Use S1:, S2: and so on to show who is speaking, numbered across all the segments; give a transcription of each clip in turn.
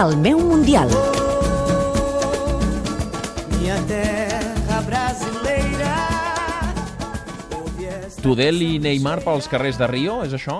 S1: El meu Mundial.
S2: Minha terra brasileira.
S3: Tudel i Neymar pels carrers de Rio, és això?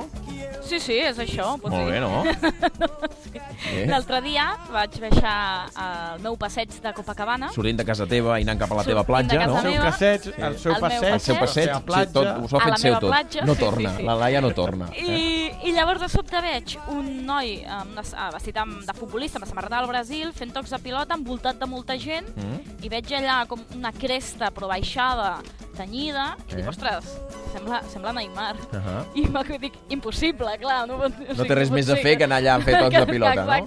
S4: Sí, sí, és això. Pot
S3: Molt bé,
S4: dir.
S3: no?
S4: sí.
S3: Bé.
S4: L'altre dia vaig baixar al meu passeig de Copacabana.
S3: Sortint de casa teva i anant cap a la teva
S4: Sortint de
S3: platja,
S4: casa
S3: no?
S4: meva.
S5: Passeig, el seu
S4: El meu
S5: passeig,
S3: El seu passeig,
S5: la seva
S3: sí, tot,
S5: platja.
S3: us ho ha
S4: A la
S3: fet seu
S4: meva
S3: tot.
S4: platja,
S3: no
S4: sí,
S3: torna,
S4: sí, sí.
S3: la Laia no torna. Eh?
S4: I, I llavors de sobte veig un noi amb una, ah, vestit amb, de futbolista, amb la samarreta del Brasil, fent tocs de pilota, envoltat de molta gent,
S3: Mm.
S4: i veig allà com una cresta però baixada, tenyida, i dic,
S3: Eh?
S4: ostres, sembla, sembla Neymar.
S3: Ahà.
S4: I va dic, impossible, clar. No, pot, o
S3: No té res més a fer que anar allà a fer tocs de pilota, no?
S4: Exacte.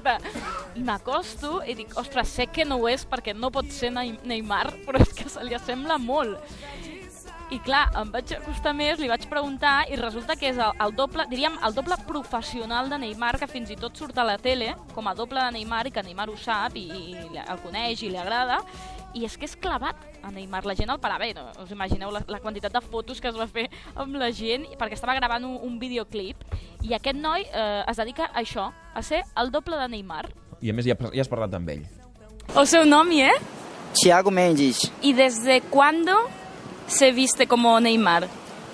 S4: I m'acosto i dic, ostres, sé que no ho és perquè no pot ser Nei- Neymar, però és que se li assembla molt. I clar, em vaig acostar més, li vaig preguntar i resulta que és el, el doble, diríem, el doble professional de Neymar, que fins i tot surt a la tele com a doble de Neymar i que Neymar ho sap i, i li- el coneix i li agrada. I és que és clavat a Neymar. La gent el parava. Bé, no, us imagineu la, la quantitat de fotos que es va fer amb la gent perquè estava gravant un, un videoclip i aquest noi eh, es dedica a això, a ser el doble de Neymar.
S3: I a més ja, ja has parlat amb ell.
S4: El seu nom hi és?
S6: Thiago Mendes.
S4: I des de quando se viste como Neymar?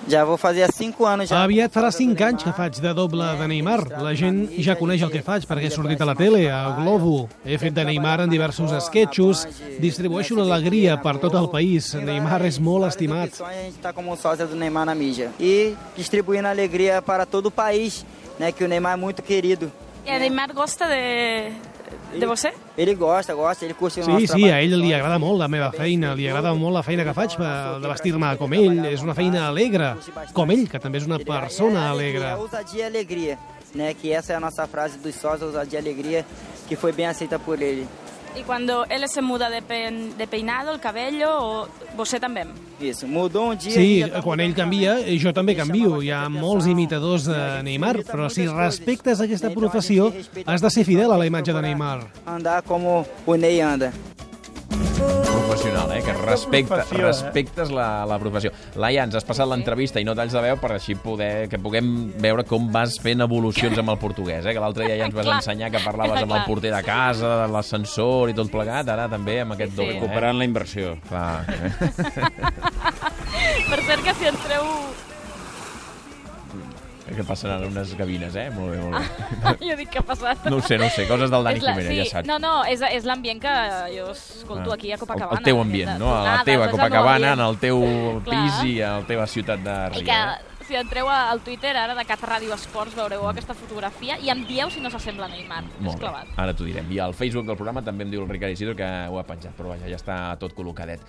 S6: Já vou fazer há cinco anos já.
S7: Aviat farà 5 anys que faig de doble de Neymar. La gent ja coneix el que faig perquè he sortit a la tele, a Globo. He fet de Neymar en diversos esquetxos. Distribueixo l'alegria per tot el país. Neymar és molt estimat.
S6: A gente está como sócia do Neymar na mídia. E distribuindo alegria para todo o país, né, que o Neymar é muito querido.
S4: I el Neymar gosta de... de você?
S6: Ele gosta, gosta, ele curte o nosso
S7: Sí, sí, a
S6: trabalho.
S7: ell li agrada molt la meva feina, li agrada molt la feina que faig eh, de vestir-me com ell. És una feina alegre, com ell, que també és una
S6: Ele-
S7: persona
S6: é
S7: alegre.
S6: alegria, ousadia e alegria, né, que essa é a nossa frase dos sócios, ousadia e alegria, que foi bem aceita por ele.
S4: I quan ell se muda de, pen, de peinado, el cabello, o você també?
S6: Isso, mudou um dia... e
S7: Sí,
S6: já tá
S7: quan ell
S6: mudando cada
S7: canvia,
S6: dia.
S7: jo també
S6: Ele chama
S7: canvio.
S6: bastante
S7: Hi ha
S6: atenção.
S7: molts imitadors de
S6: Ele
S7: Neymar,
S6: imita
S7: però
S6: muitas
S7: si
S6: coisas.
S7: respectes
S6: Então,
S7: aquesta
S6: a gente
S7: professió,
S6: respeita
S7: has de ser
S6: muito,
S7: fidel a la
S6: tem que
S7: imatge de
S6: procurar
S7: Neymar.
S6: Andar como o Ney anda.
S3: Professional, eh? Que respecte,
S5: professió, eh?
S3: respectes la, la professió. Laia, ens has passat l'entrevista i no talls de veu per així poder, que puguem veure com vas fent evolucions amb el portuguès, eh? Que l'altre dia ja ens vas
S4: Clar.
S3: ensenyar que parlaves amb el
S4: Clar.
S3: porter de casa, de l'ascensor i tot plegat, ara també amb aquest
S4: Sí, sí.
S3: doble. Eh?
S8: Recuperant la inversió.
S3: Clar, eh?
S4: Per cert que si entreu...
S3: Crec que passen ara unes gavines, eh? Molt bé, molt bé.
S4: jo dic que ha passat.
S3: No ho sé, no ho sé, coses del Dani
S4: Ah. És la-
S3: Jiménez,
S4: sí,
S3: ja saps.
S4: No, no, és, és l'ambient que jo escolto
S3: Ah.
S4: aquí a Copacabana.
S3: El, el teu
S4: de-
S3: ambient,
S4: de doncs
S3: no? A la
S4: tonades,
S3: teva
S4: és el meu
S3: Copacabana, en
S4: ambient.
S3: el teu pis
S4: Clar.
S3: i a la teva ciutat de
S4: I
S3: Rio.
S4: que
S3: eh?
S4: si entreu a- al Twitter ara de Cat Ràdio Esports veureu aquesta fotografia i em dieu si no s'assembla a Neymar. és
S3: Molt bé,
S4: clavat.
S3: ara t'ho direm. I al Facebook del programa també em diu el Ricard Isidro que ho ha penjat, però vaja, ja està tot col·locadet.